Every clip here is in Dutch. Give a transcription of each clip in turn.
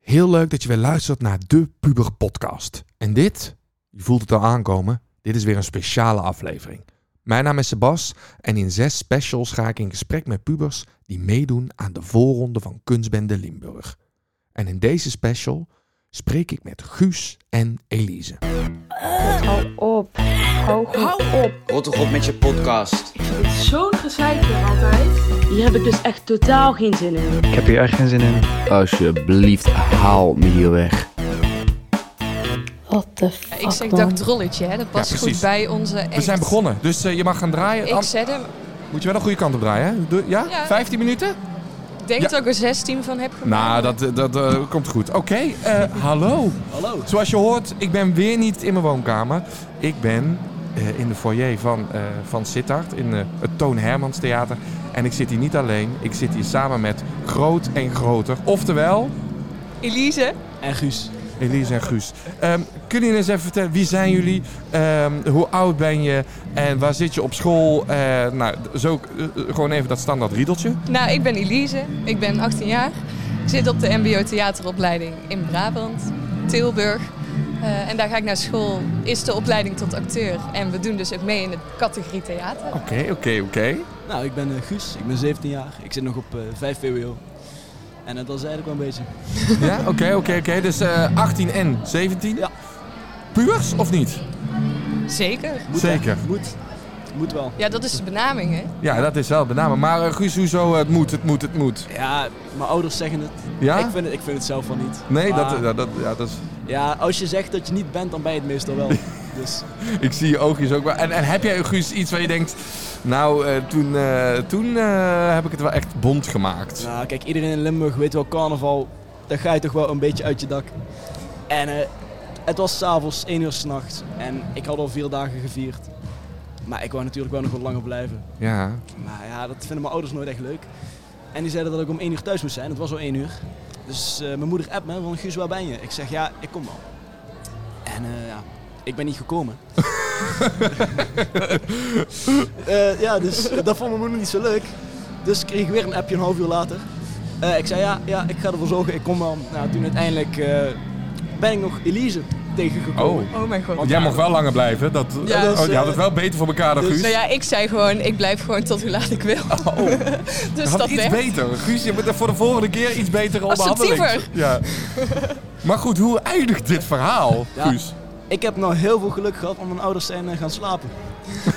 Heel leuk dat je weer luistert naar de Puber Podcast. En dit, je voelt het al aankomen, dit is weer een speciale aflevering. Mijn naam is Sebas en in zes specials ga ik in gesprek met pubers die meedoen aan de voorronde van Kunstbende Limburg. En in deze special spreek ik met Guus en Elise. Hou op. Hou goed op. Rot toch op met je podcast. Het is zo'n gezeik hier altijd. Hier heb ik dus echt totaal geen zin in. Ik heb hier echt geen zin in. Alsjeblieft, haal me hier weg. What the Ja, fuck, ik zeg man. dat rolletje, hè? dat past Ja, precies. goed bij onze. We zijn begonnen, dus eh, je mag gaan draaien. Ik Am- zet hem. Moet je wel de goede kant op draaien, hè? Doe- ja? Ja. 15 minuten? Ik denk Ja. dat ik er 16 van heb gemaakt. Nou, dat, eh, dat eh, komt goed. Oké, eh, hallo. Hallo. Zoals je hoort, ik ben weer niet in mijn woonkamer. Ik ben eh, in de foyer van, eh van Sittard, in eh, het Toon Hermans Theater. En ik zit hier niet alleen, ik zit hier samen met Groot en Groter. Oftewel, Elise, En Guus. Elise en Guus. Ehm, kunnen jullie eens even vertellen, wie zijn jullie? Ehm, hoe oud ben je? En waar zit je op school? Eh, nou, zo, eh, eh, gewoon even dat standaard riedeltje. nou ik ben Elise, ik ben 18 jaar. Ik zit op de MBO theateropleiding in Brabant, Tilburg. Eh, en daar ga ik naar school, is de opleiding tot acteur. En we doen dus ook mee in de categorie theater. Oké, oké, oké. Nou, ik ben eh, Guus, ik ben 17 jaar. Ik zit nog op eh 5 VWO. En eh, dat is eigenlijk wel een beetje. Ja, oké, oké, oké. Dus eh, 18 en 17? Ja. Puurs of niet? Zeker. Moet Zeker. hè? Moet. Moet wel. Ja, dat is de benaming, hè? Ja, dat is wel benamelijk. Maar eh, Guus, hoezo eh, het moet, het moet, het moet? Ja, mijn ouders zeggen het. Ja? Ik, vind Ah. het ik vind het zelf wel niet. Nee, dat, Maar, dat, dat, ja, dat is... Ja, als je zegt dat je niet bent, dan ben je het meestal wel. dus Ik zie je oogjes ook wel. En, en heb jij, Guus, iets waar je denkt... Nou, eh, toen, eh, toen eh, heb ik het wel echt bond gemaakt. nou, kijk, iedereen in Limburg weet wel, carnaval, daar ga je toch wel een beetje uit je dak. En eh, het was s'avonds 1 uur s'nachts en ik had al vier dagen gevierd. Maar ik wou natuurlijk wel nog wat langer blijven. Ja. Maar ja, dat vinden mijn ouders nooit echt leuk. En die zeiden dat ik om één uur thuis moest zijn. Het was al één uur. Dus eh, mijn moeder appt me van Guus, waar ben je? Ik zeg ja, ik kom wel. En eh, ja, ik ben niet gekomen. Eh, ja, dus dat vond mijn moeder niet zo leuk. Dus ik kreeg weer een appje een half uur later. Eh, ik zei ja, ja, ik ga ervoor zorgen, ik kom wel. Nou, toen uiteindelijk eh, ben ik nog Elise tegengekomen. Oh. Oh mijn god. Want jij mag wel langer blijven. Dat, Ja, oh, dus, je had het eh, wel beter voor elkaar dan dus- Guus. Nou ja, ik zei gewoon, ik blijf gewoon tot hoe laat ik wil. je dus had dat oh. iets werkt. beter. Guus, je moet er voor de volgende keer iets betere onderhandeling. Assertiever. Ja. maar goed, hoe eindigt dit verhaal, Ja. Guus? Ik heb nou heel veel geluk gehad, want mijn ouders zijn eh, gaan slapen.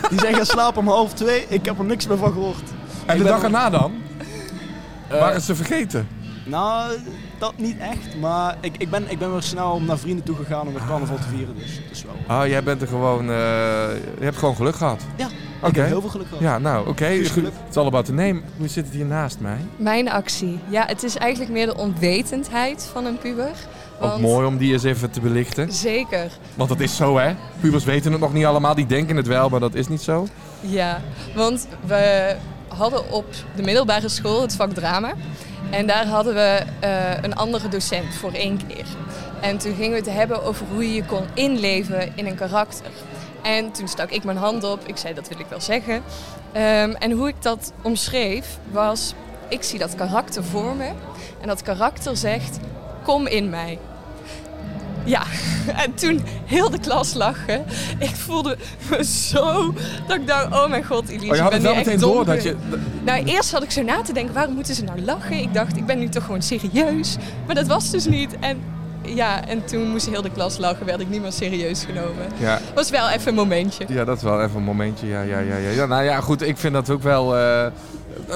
Die zijn gaan slapen om half twee. Ik heb er niks meer van gehoord. En de ben dag nog- erna dan? Eh, Waren ze vergeten? Nou, dat niet echt. Maar ik, ik, ben, ik ben weer snel naar vrienden toe gegaan om het carnaval te vieren. Dus het is wel. Ah, jij bent er gewoon... eh, je hebt gewoon geluk gehad. Ja, Oké. ik heb heel veel geluk gehad. Ja, nou, oké. Guus, Goed. geluk. Het is all about the name. Hoe zit het hier naast mij? Mijn actie. Ja, het is eigenlijk meer de onwetendheid van een puber. Ook Want- mooi om die eens even te belichten. Zeker, Want dat is zo, hè? Pubers weten het nog niet allemaal. Die denken het wel, maar dat is niet zo. Oh, ja. Want we hadden op de middelbare school het vak drama. En daar hadden we eh, een andere docent voor één keer. En toen gingen we het hebben over hoe je je kon inleven in een karakter. En toen stak ik mijn hand op. Ik zei, dat wil ik wel zeggen. Ehm, en hoe ik dat omschreef was, ik zie dat karakter voor me. En dat karakter zegt, kom in mij. Ja, en toen heel de klas lachen. Ik voelde me zo dat ik dacht, oh mijn god, Elise, Oh, je had het ik ben wel nu echt meteen dom door dat geweest. je... Nou, eerst had ik zo na te denken, waarom moeten ze nou lachen? Ik dacht, ik ben nu toch gewoon serieus. Maar dat was dus niet. En ja, en toen moest heel de klas lachen, werd ik niet meer serieus genomen. Ja, Was wel even een momentje. ja, dat is wel even een momentje. Ja, ja, ja, ja. ja nou ja, goed. Ik vind dat ook wel... eh, eh,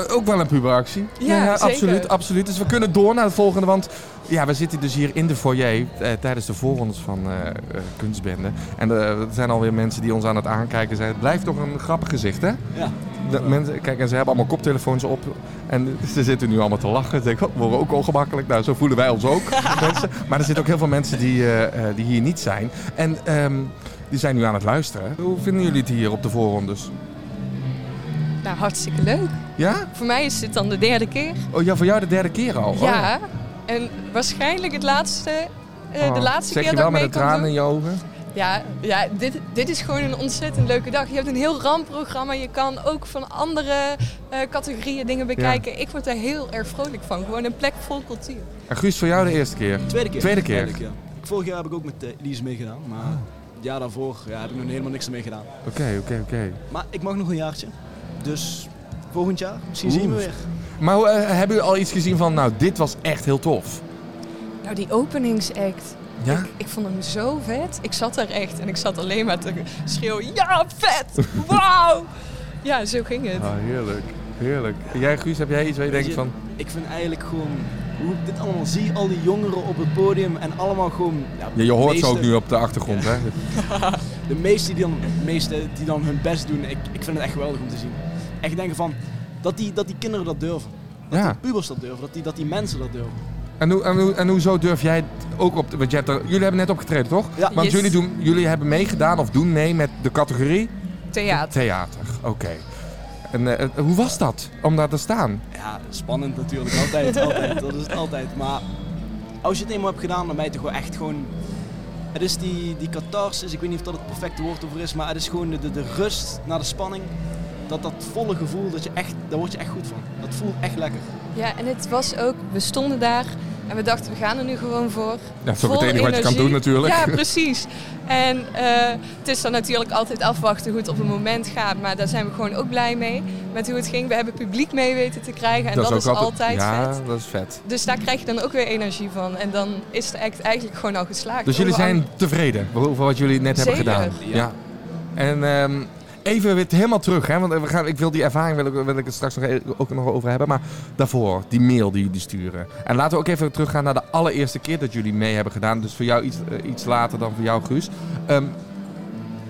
ook wel een puberactie. Ja, zeker. absoluut, absoluut. Dus we kunnen door naar het volgende, want ja, we zitten dus hier in de foyer eh, tijdens de voorrondes van eh eh, kunstbende. En eh, er zijn alweer mensen die ons aan het aankijken zijn. Het blijft toch een grappig gezicht, hè? Ja. De mensen, kijk, en ze hebben allemaal koptelefoons op. En ze zitten nu allemaal te lachen. Ze denken, oh, we worden ook ongemakkelijk. Nou, zo voelen wij ons ook. mensen. Maar er zitten ook heel veel mensen die, eh, eh, die hier niet zijn. En ehm, die zijn nu aan het luisteren. Hoe vinden jullie het hier op de voorrondes? Nou, hartstikke leuk. Ja? Voor mij is dit dan de derde keer. Oh ja, voor jou de derde keer al. Oh. ja. En waarschijnlijk het laatste, eh, Oh. de laatste zeg keer je dat wel met ik mee een kan traan in doen. je ogen? Ja, ja dit, dit is gewoon een ontzettend leuke dag. Je hebt een heel rampprogramma. Je kan ook van andere eh, categorieën dingen bekijken. Ik word er heel erg vrolijk van. Gewoon een plek vol cultuur. En Guus, voor jou de eerste keer. Tweede keer. Tweede keer. Ah. Eindelijk, ja. Vorig jaar heb ik ook met eh, Elise meegedaan, maar het jaar daarvoor ja, heb ik nog helemaal niks mee gedaan. Oké, oké, oké. Maar ik mag nog een jaartje, dus volgend jaar, misschien Oeh. zien we weer. Maar hoe, eh, hebben jullie al iets gezien van, nou, dit was echt heel tof? Nou, die openingsact. Ja? Ik vond hem zo vet. Ik zat daar echt en ik zat alleen maar te schreeuwen. Ja, vet! Wauw! Ja, zo ging het. Ah, heerlijk. Heerlijk. Jij, Guus, heb jij iets waar je Weet denkt je, van... Dus, eh, Ik vind eigenlijk gewoon, hoe ik dit allemaal zie, al die jongeren op het podium en allemaal gewoon... Ja, Ja, je hoort de ze ook meeste- nu op de achtergrond, hè? De meesten die dan, de meeste die dan hun best doen, ik, ik vind het echt geweldig om te zien. Echt denken van, dat die, dat die kinderen dat durven. Dat Ja. die pubers dat durven, dat die, dat die mensen dat durven. En, hoe, en, hoe, en hoezo durf jij het ook op... te- Want jij hebt er- jullie hebben net opgetreden, toch? Ja. Want Yes. jullie, doen, jullie hebben meegedaan of doen mee met de categorie Theater. theater. Oké. En eh, eh, hoe was dat om daar te staan? Ja, spannend natuurlijk, altijd, altijd, dat is het altijd. Maar als je het eenmaal hebt gedaan, dan ben je toch wel echt gewoon... Het is die, die catharsis, ik weet niet of dat het perfecte woord over is, maar het is gewoon de, de, de rust na de spanning. Dat, dat volle gevoel, dat je echt, daar word je echt goed van. Dat voelt echt lekker. Ja, en het was ook, we stonden daar en we dachten, we gaan er nu gewoon voor. Ja, dat is ook Vol het enige wat je kan energie. doen natuurlijk. Ja, precies. En eh, het is dan natuurlijk altijd afwachten hoe het op een moment gaat. Maar daar zijn we gewoon ook blij mee met hoe het ging. We hebben publiek mee weten te krijgen en dat, is, altijd, Ja, vet. dat is vet. Dus daar krijg je dan ook weer energie van. En dan is de act eigenlijk gewoon al geslaagd. Dus jullie Overal- zijn tevreden over wat jullie net hebben Zeker, gedaan? ja. En ehm, even weer helemaal terug, hè? want we gaan, ik wil die ervaring wil ik, wil ik het straks nog, e- ook nog over hebben. Maar daarvoor, die mail die jullie sturen. En laten we ook even teruggaan naar de allereerste keer dat jullie mee hebben gedaan. Dus voor jou iets, eh, iets later dan voor jou, Guus. Ehm,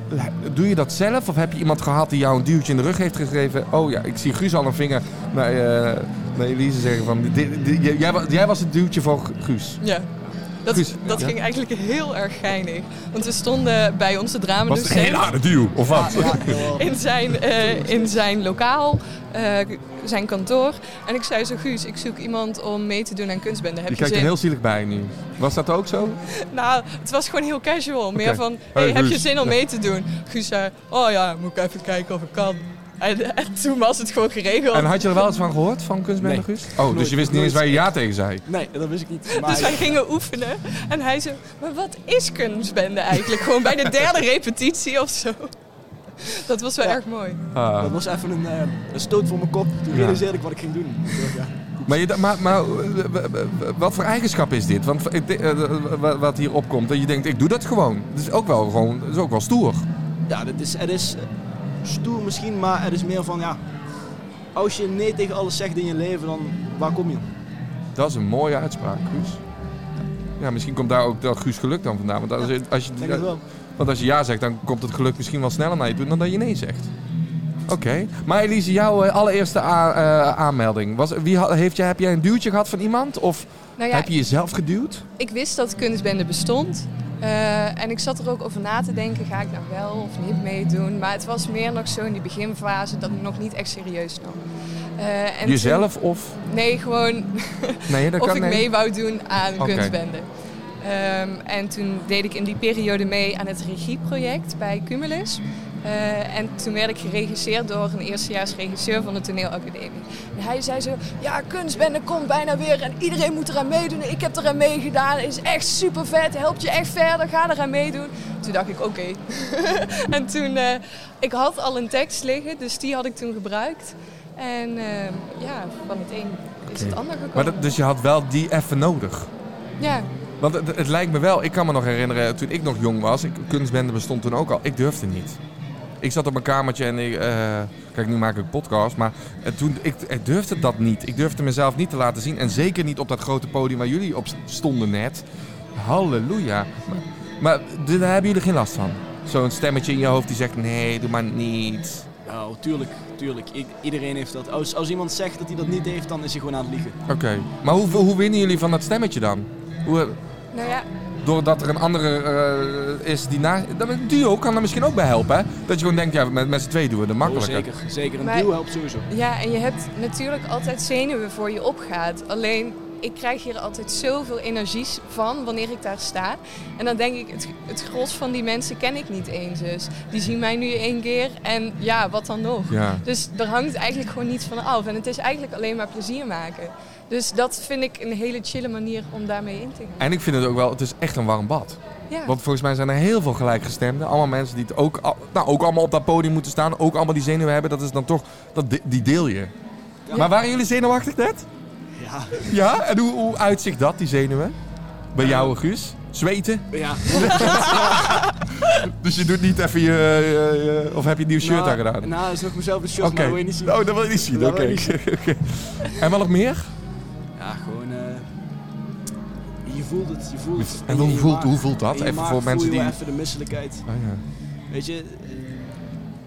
l- doe je dat zelf of heb je iemand gehad die jou een duwtje in de rug heeft gegeven? Oh ja, ik zie Guus al een vinger naar, eh, naar Elise zeggen van... "Dit- dit- jij- jij, wa- jij was het duwtje voor Gu- Guus. Ja. Dat, Guus, dat ja. ging eigenlijk heel erg geinig. Want we stonden bij onze Was het een dramadocent. hele harde duw, of wat? in zijn, eh, in zijn lokaal, eh, zijn kantoor. En ik zei zo, Guus, ik zoek iemand om mee te doen aan kunstbende. Heb Je je, kijkt er zin? heel zielig bij nu. Was dat ook zo? Nou, het was gewoon heel casual. Meer van, hey, Hey, heb je Guus. zin om mee te doen? Guus zei, oh ja, moet ik even kijken of ik kan. En, en toen was het gewoon geregeld. En had je er wel eens van gehoord, van kunstbende Nee. Guus? Oh, dus je wist niet eens waar je ja tegen zei. Nee, dat wist ik niet. Maar Dus wij gingen oefenen. En hij zei, maar wat is kunstbende eigenlijk? gewoon bij de derde repetitie of zo. Dat was wel Ja. erg mooi. Ah. dat was even een, eh, een stoot voor mijn kop. Toen Ja. realiseerde ik wat ik ging doen. Ja. Maar, je, maar, maar eh, w- w- w- wat voor eigenschap is dit? Want ik denk, eh, w- wat hier opkomt, dat je denkt, ik doe dat gewoon. Dat is ook wel, gewoon, dat is ook wel stoer. Ja, dit is, het is eh, stoer misschien, maar het is meer van ja. Als je nee tegen alles zegt in je leven, dan waar kom je? Dat is een mooie uitspraak, Guus. Ja, misschien komt daar ook dat Guus geluk dan vandaan. Want als, je- als, Ik Denk het je, wel. want als je ja zegt, dan komt het geluk misschien wel sneller naar je toe dan dat je nee zegt. Oké. Maar Elise, jouw eh, allereerste a- eh, aanmelding. Was, wie, ha- heeft jij, heb jij een duwtje gehad van iemand? Of Nou ja, heb je jezelf geduwd? ik wist dat kunstbende bestond. eh, en ik zat er ook over na te denken, ga ik nou wel of niet meedoen? Maar het was meer nog zo in die beginfase dat ik nog niet echt serieus nam. Eh, en Jezelf of... toen- nee, gewoon Nee, dat of kan ik nee. mee wou doen aan Oké. kunstbende. Ehm, en toen deed ik in die periode mee aan het regieproject bij Cumulus. Eh, en toen werd ik geregisseerd door een eerstejaars regisseur van de toneelacademie. En hij zei zo, ja, kunstbende komt bijna weer en iedereen moet eraan meedoen. Ik heb eraan meegedaan, is echt super vet, helpt je echt verder, ga eraan meedoen. Toen dacht ik, oké. en toen, eh, ik had al een tekst liggen, dus die had ik toen gebruikt. En ehm, ja, van het een is het Oké. ander gekomen. Maar dat, dus je had wel die even nodig. Ja, Want het, het lijkt me wel, ik kan me nog herinneren, toen ik nog jong was, ik, kunstbende bestond toen ook al, ik durfde niet. Ik zat op mijn kamertje en ik, eh, kijk nu maak ik een podcast, maar eh, toen, ik, ik durfde dat niet. Ik durfde mezelf niet te laten zien en zeker niet op dat grote podium waar jullie op stonden net. Halleluja. Maar, maar d- daar hebben jullie geen last van? Zo'n stemmetje in je hoofd die zegt, nee, doe maar niet. Nou, tuurlijk, tuurlijk. I- iedereen heeft dat. Als, als iemand zegt dat hij dat niet heeft, dan is hij gewoon aan het liegen. Oké, maar hoe, hoe winnen jullie van dat stemmetje dan? Hoe, nou ja, Doordat er een andere eh, is die na... Dat- Een duo kan er misschien ook bij helpen, hè? Dat je gewoon denkt, ja, met, met z'n twee doen we het Oh, makkelijker. zeker, zeker. Een Maar- duw helpt sowieso. ja, en je hebt natuurlijk altijd zenuwen voor je opgaat. Alleen ik krijg hier altijd zoveel energies van wanneer ik daar sta. En dan denk ik, het, het gros van die mensen ken ik niet eens. Dus die zien mij nu één keer en ja, wat dan nog? Ja. Dus er hangt eigenlijk gewoon niets van af. En het is eigenlijk alleen maar plezier maken. Dus dat vind ik een hele chille manier om daarmee in te gaan. En ik vind het ook wel, het is echt een warm bad. Ja. Want volgens mij zijn er heel veel gelijkgestemden. Allemaal mensen die het ook, al- nou, ook allemaal op dat podium moeten staan. Ook allemaal die zenuwen hebben. Dat is dan toch, dat, de- die deel je. Maar waren jullie zenuwachtig net? Ja. Ja? En hoe, hoe uitzicht dat, die zenuwen? Bij jou, Guus? Zweten? Ja. Dus je doet niet even je... je- je- of heb je een nieuw shirt Nou, aan gedaan? Nou, dat is nog mezelf een shirt, Oké. maar dat wil je niet zien. Oh, dat wil je niet zien. Dat Oké. wil je niet zien. Oké. En wat nog meer? Ja, gewoon... eh, je voelt het, je voelt het. En hoe In je voelt- maag. hoe voelt dat? In je Even maag voor mensen voel je wel die- even de misselijkheid. Oh, Ah, ja. Weet je, eh,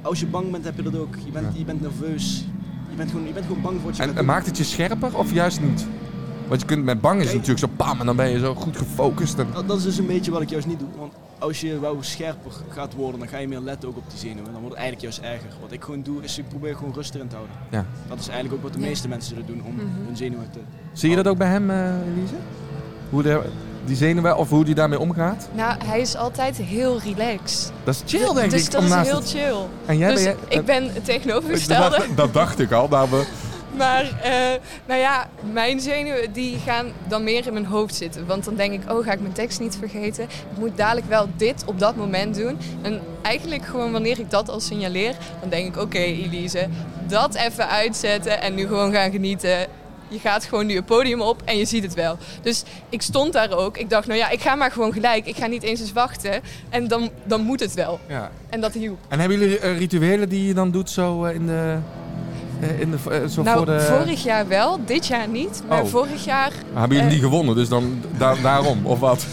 als je bang bent heb je dat ook. Je bent, Ja. je bent nerveus. Je bent, gewoon, je bent gewoon bang voor wat je En, gaat en doen. maakt het je scherper of juist niet? Want je kunt met bang is Nee. natuurlijk zo pam en dan ben je zo goed gefocust. En... Dat, dat is dus een beetje wat ik juist niet doe. Want als je wel scherper gaat worden, dan ga je meer letten ook op die zenuwen. Dan wordt het eigenlijk juist erger. Wat ik gewoon doe, is ik probeer gewoon rust erin te houden. Ja. Dat is eigenlijk ook wat de Ja. meeste mensen zullen doen om Mhm. hun zenuwen te... Zie je dat ook bij hem, eh Elise? Hoe de, die zenuwen of hoe die daarmee omgaat? Nou, hij is altijd heel relaxed. Dat is chill, denk dus ik. dat om is naast heel het- chill. En jij dus ben jij- Eh, ik ben het tegenovergestelde. dat, dat dacht ik al. Nou, we- Maar eh, nou ja, mijn zenuwen die gaan dan meer in mijn hoofd zitten. Want dan denk ik, oh ga ik mijn tekst niet vergeten. Ik moet dadelijk wel dit op dat moment doen. En eigenlijk gewoon wanneer ik dat al signaleer, dan denk ik, oké Elise, dat even uitzetten en nu gewoon gaan genieten. Je gaat gewoon nu het podium op en je ziet het wel. Dus ik stond daar ook. Ik dacht, nou ja, ik ga maar gewoon gelijk. Ik ga niet eens eens wachten. En dan, dan moet het wel. ja. En dat hielp. En hebben jullie eh, rituelen die je dan doet zo eh, in de... eh, In de, eh, zo Nou, voor de... vorig jaar wel, dit jaar niet. Maar Oh. vorig jaar Hebben Eh. jullie die gewonnen, dus dan da- daarom, of wat?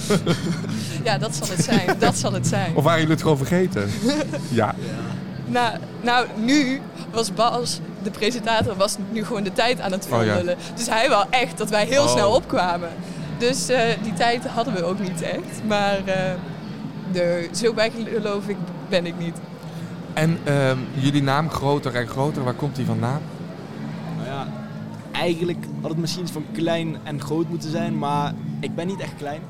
Ja, dat zal het zijn. Dat zal het zijn. Of waren jullie het gewoon vergeten? ja. Nou, nou, nu was Bas, de presentator, was nu gewoon de tijd aan het Oh, ja. veranderen. Dus hij wou echt dat wij heel Oh. snel opkwamen. Dus eh, die tijd hadden we ook niet echt. Maar eh nee, zo bijgeloof ik ben ik niet. En ehm, jullie naam groter en groter, waar komt die vandaan? Nou ja, eigenlijk had het misschien iets van klein en groot moeten zijn, maar ik ben niet echt klein.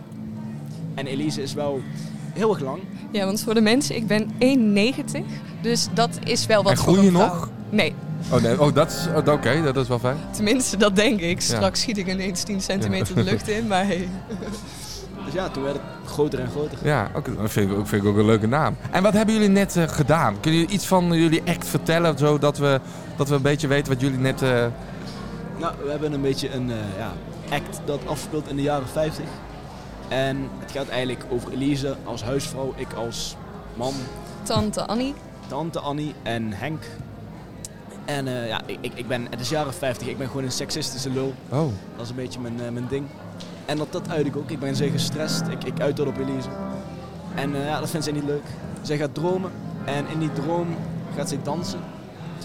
En Elise is wel heel erg lang. Ja, want voor de mensen, ik ben 1,90. Dus dat is wel wat En voor groei je een vrouw. nog? Nee, Oh, nee. oh dat is... oh, Oké, dat is wel fijn. tenminste dat denk ik. Straks schiet ik ineens 10 centimeter de lucht in, maar hey. Dus ja, toen werd het groter en groter. Ja, ook, dat vind, ik, ook- vind ik ook een leuke naam. En wat hebben jullie net eh, gedaan? Kunnen jullie iets van jullie act vertellen, zodat we, dat we een beetje weten wat jullie net... eh, Nou, we hebben een beetje een eh, ja, act dat afspeelt in de jaren 50. En het gaat eigenlijk over Elise als huisvrouw, ik als man, Tante Annie. tante Annie en Henk. En eh, ja, ik, ik- ik ben, het is jaren 50, ik ben gewoon een seksistische lul. Oh, Dat is een beetje mijn, eh, mijn ding. En dat, dat uit ik ook. Ik ben zeer gestrest. Ik, ik uit dat op Elise. En eh, ja, dat vindt zij niet leuk. Zij gaat dromen. En in die droom gaat zij dansen.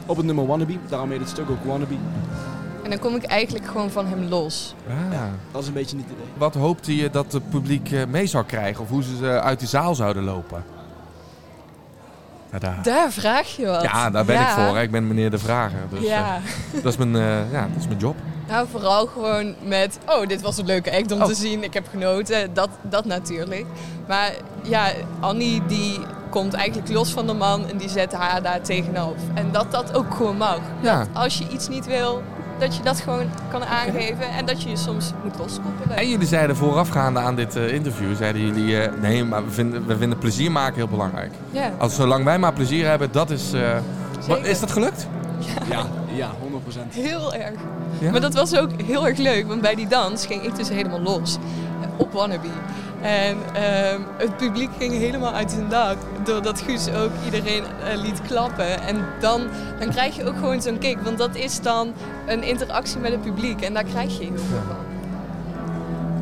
Op het nummer Wannabe. Daarom heet het stuk ook Wannabe. En dan kom ik eigenlijk gewoon van hem los. ah. Dat is een beetje niet het idee. Wat hoopte je dat het publiek eh, mee zou krijgen? Of hoe ze eh, uit de zaal zouden lopen? Tadaa. Daar vraag je wat. Ja, daar ben Ja. ik voor. hè. Ik ben meneer de vrager. Dus, eh, Ja, dat is mijn, eh, ja, dat is mijn job. nou vooral gewoon met, oh dit was een leuke act om Oh. te zien, ik heb genoten, dat, dat natuurlijk. Maar ja, Annie die komt eigenlijk los van de man en die zet haar daar tegenop. En dat dat ook gewoon mag. Ja. Als je iets niet wil, dat je dat gewoon kan aangeven en dat je je soms moet loskoppelen. En jullie zeiden voorafgaande aan dit eh, interview, zeiden jullie, eh, nee, maar we vinden, we vinden plezier maken heel belangrijk. Ja, Als zolang wij maar plezier hebben, dat is... eh, wat, Zeker. is dat gelukt? Ja, ja 100%. heel erg. Ja? Maar dat was ook heel erg leuk, want bij die dans ging ik dus helemaal los. eh, Op Wannabe. En ehm, het publiek ging helemaal uit zijn dak. Doordat Guus ook iedereen eh, liet klappen. En dan, dan krijg je ook gewoon zo'n kick. Want dat is dan een interactie met het publiek. En daar krijg je heel veel van.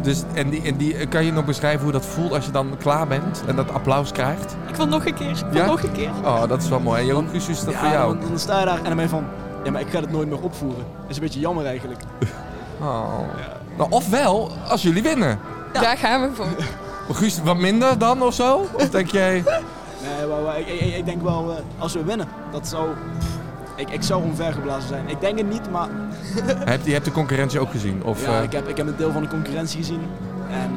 Dus, en die, en die, eh, kan je nog beschrijven hoe dat voelt als je dan klaar bent en dat applaus krijgt? Ik wil nog een keer. Ik wil Ja? nog een keer. Oh, dat is wel mooi. En Jeroen Guus, is dat ja, voor jou? Dan, dan sta je daar en dan ben je van... Ja, maar ik ga het nooit meer opvoeren. Dat is een beetje jammer eigenlijk. Oh. Nou, ofwel, als jullie winnen. Daar gaan we voor. Maar Guus, wat minder dan of zo? Of denk jij... Nee, maar, maar ik, ik, ik denk wel, eh, als we winnen, dat zou... Ik, ik zou omvergeblazen zijn. Ik denk het niet, maar Heb, je hebt de concurrentie ook gezien? Of, ja, eh, ik, heb, ik heb een deel van de concurrentie gezien. En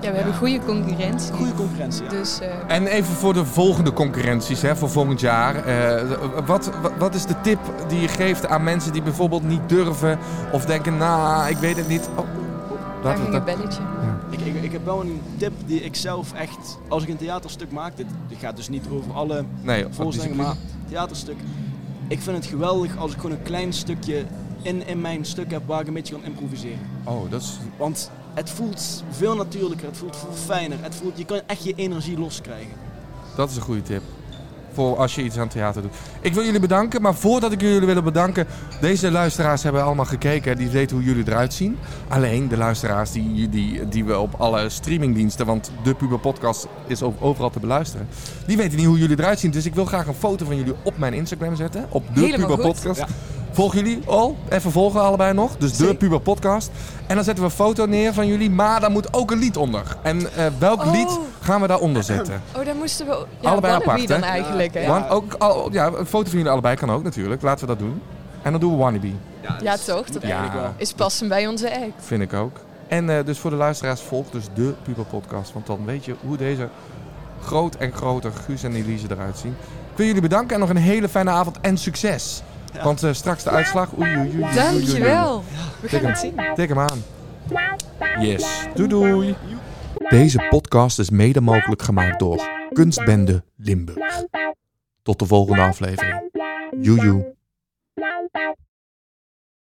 eh, Ja, we hebben goede concurrentie. goede concurrentie, ja. Dus eh, En even voor de volgende concurrenties, hè, voor volgend jaar. Eh, wat, wat, wat is de tip die je geeft aan mensen die bijvoorbeeld niet durven of denken, nou, ik weet het niet. Oh, oh, daar laten we ging een het belletje. Ik, ik, ik heb wel een tip die ik zelf echt, als ik een theaterstuk maak, dit, dit gaat dus niet over alle Nee, oh, wat voorstellingen, maar theaterstuk. Ik vind het geweldig als ik gewoon een klein stukje in, in mijn stuk heb waar ik een beetje kan improviseren. Oh, dat is... Want het voelt veel natuurlijker, het voelt veel fijner, het voelt, je kan echt je energie loskrijgen. Dat is een goede tip. Voor als je iets aan theater doet. Ik wil jullie bedanken, maar voordat ik jullie wil bedanken. Deze luisteraars hebben allemaal gekeken. hè, Die weten hoe jullie eruit zien. Alleen de luisteraars die, die, die we op alle streamingdiensten. Want de Puber Podcast is ook overal te beluisteren. Die weten niet hoe jullie eruit zien. Dus ik wil graag een foto van jullie op mijn Instagram zetten. Op de Helemaal Puber goed. Podcast. Ja. Volg jullie al. Even volgen allebei nog. Dus de Zeker. Puber Podcast. En dan zetten we een foto neer van jullie. Maar daar moet ook een lied onder. En eh, welk Oh. lied gaan we daaronder zetten? Oh, daar moesten we... Ja, Allebei Wannabe apart, dan hè? eigenlijk, hè? Ja. Want ook al, ja, een foto van jullie allebei kan ook natuurlijk. Laten we dat doen. En dan doen we Wannabe, Ja, toch? Dat Ja. eigenlijk wel. is passend bij onze act. vind ik ook. En eh, dus voor de luisteraars, volg dus de Puber Podcast. Want dan weet je hoe deze groot en groter Guus en Elise eruit zien. Ik wil jullie bedanken en nog een hele fijne avond en succes. Ja. Want eh, straks de uitslag. Oei, oei, oei, oei, oei, oei. Dankjewel. We gaan Dikke- het zien. Tik hem aan. Yes. Doei doei. Deze podcast is mede mogelijk gemaakt door Kunstbende Limburg. Tot de volgende aflevering. Joejoe. Wow, wow.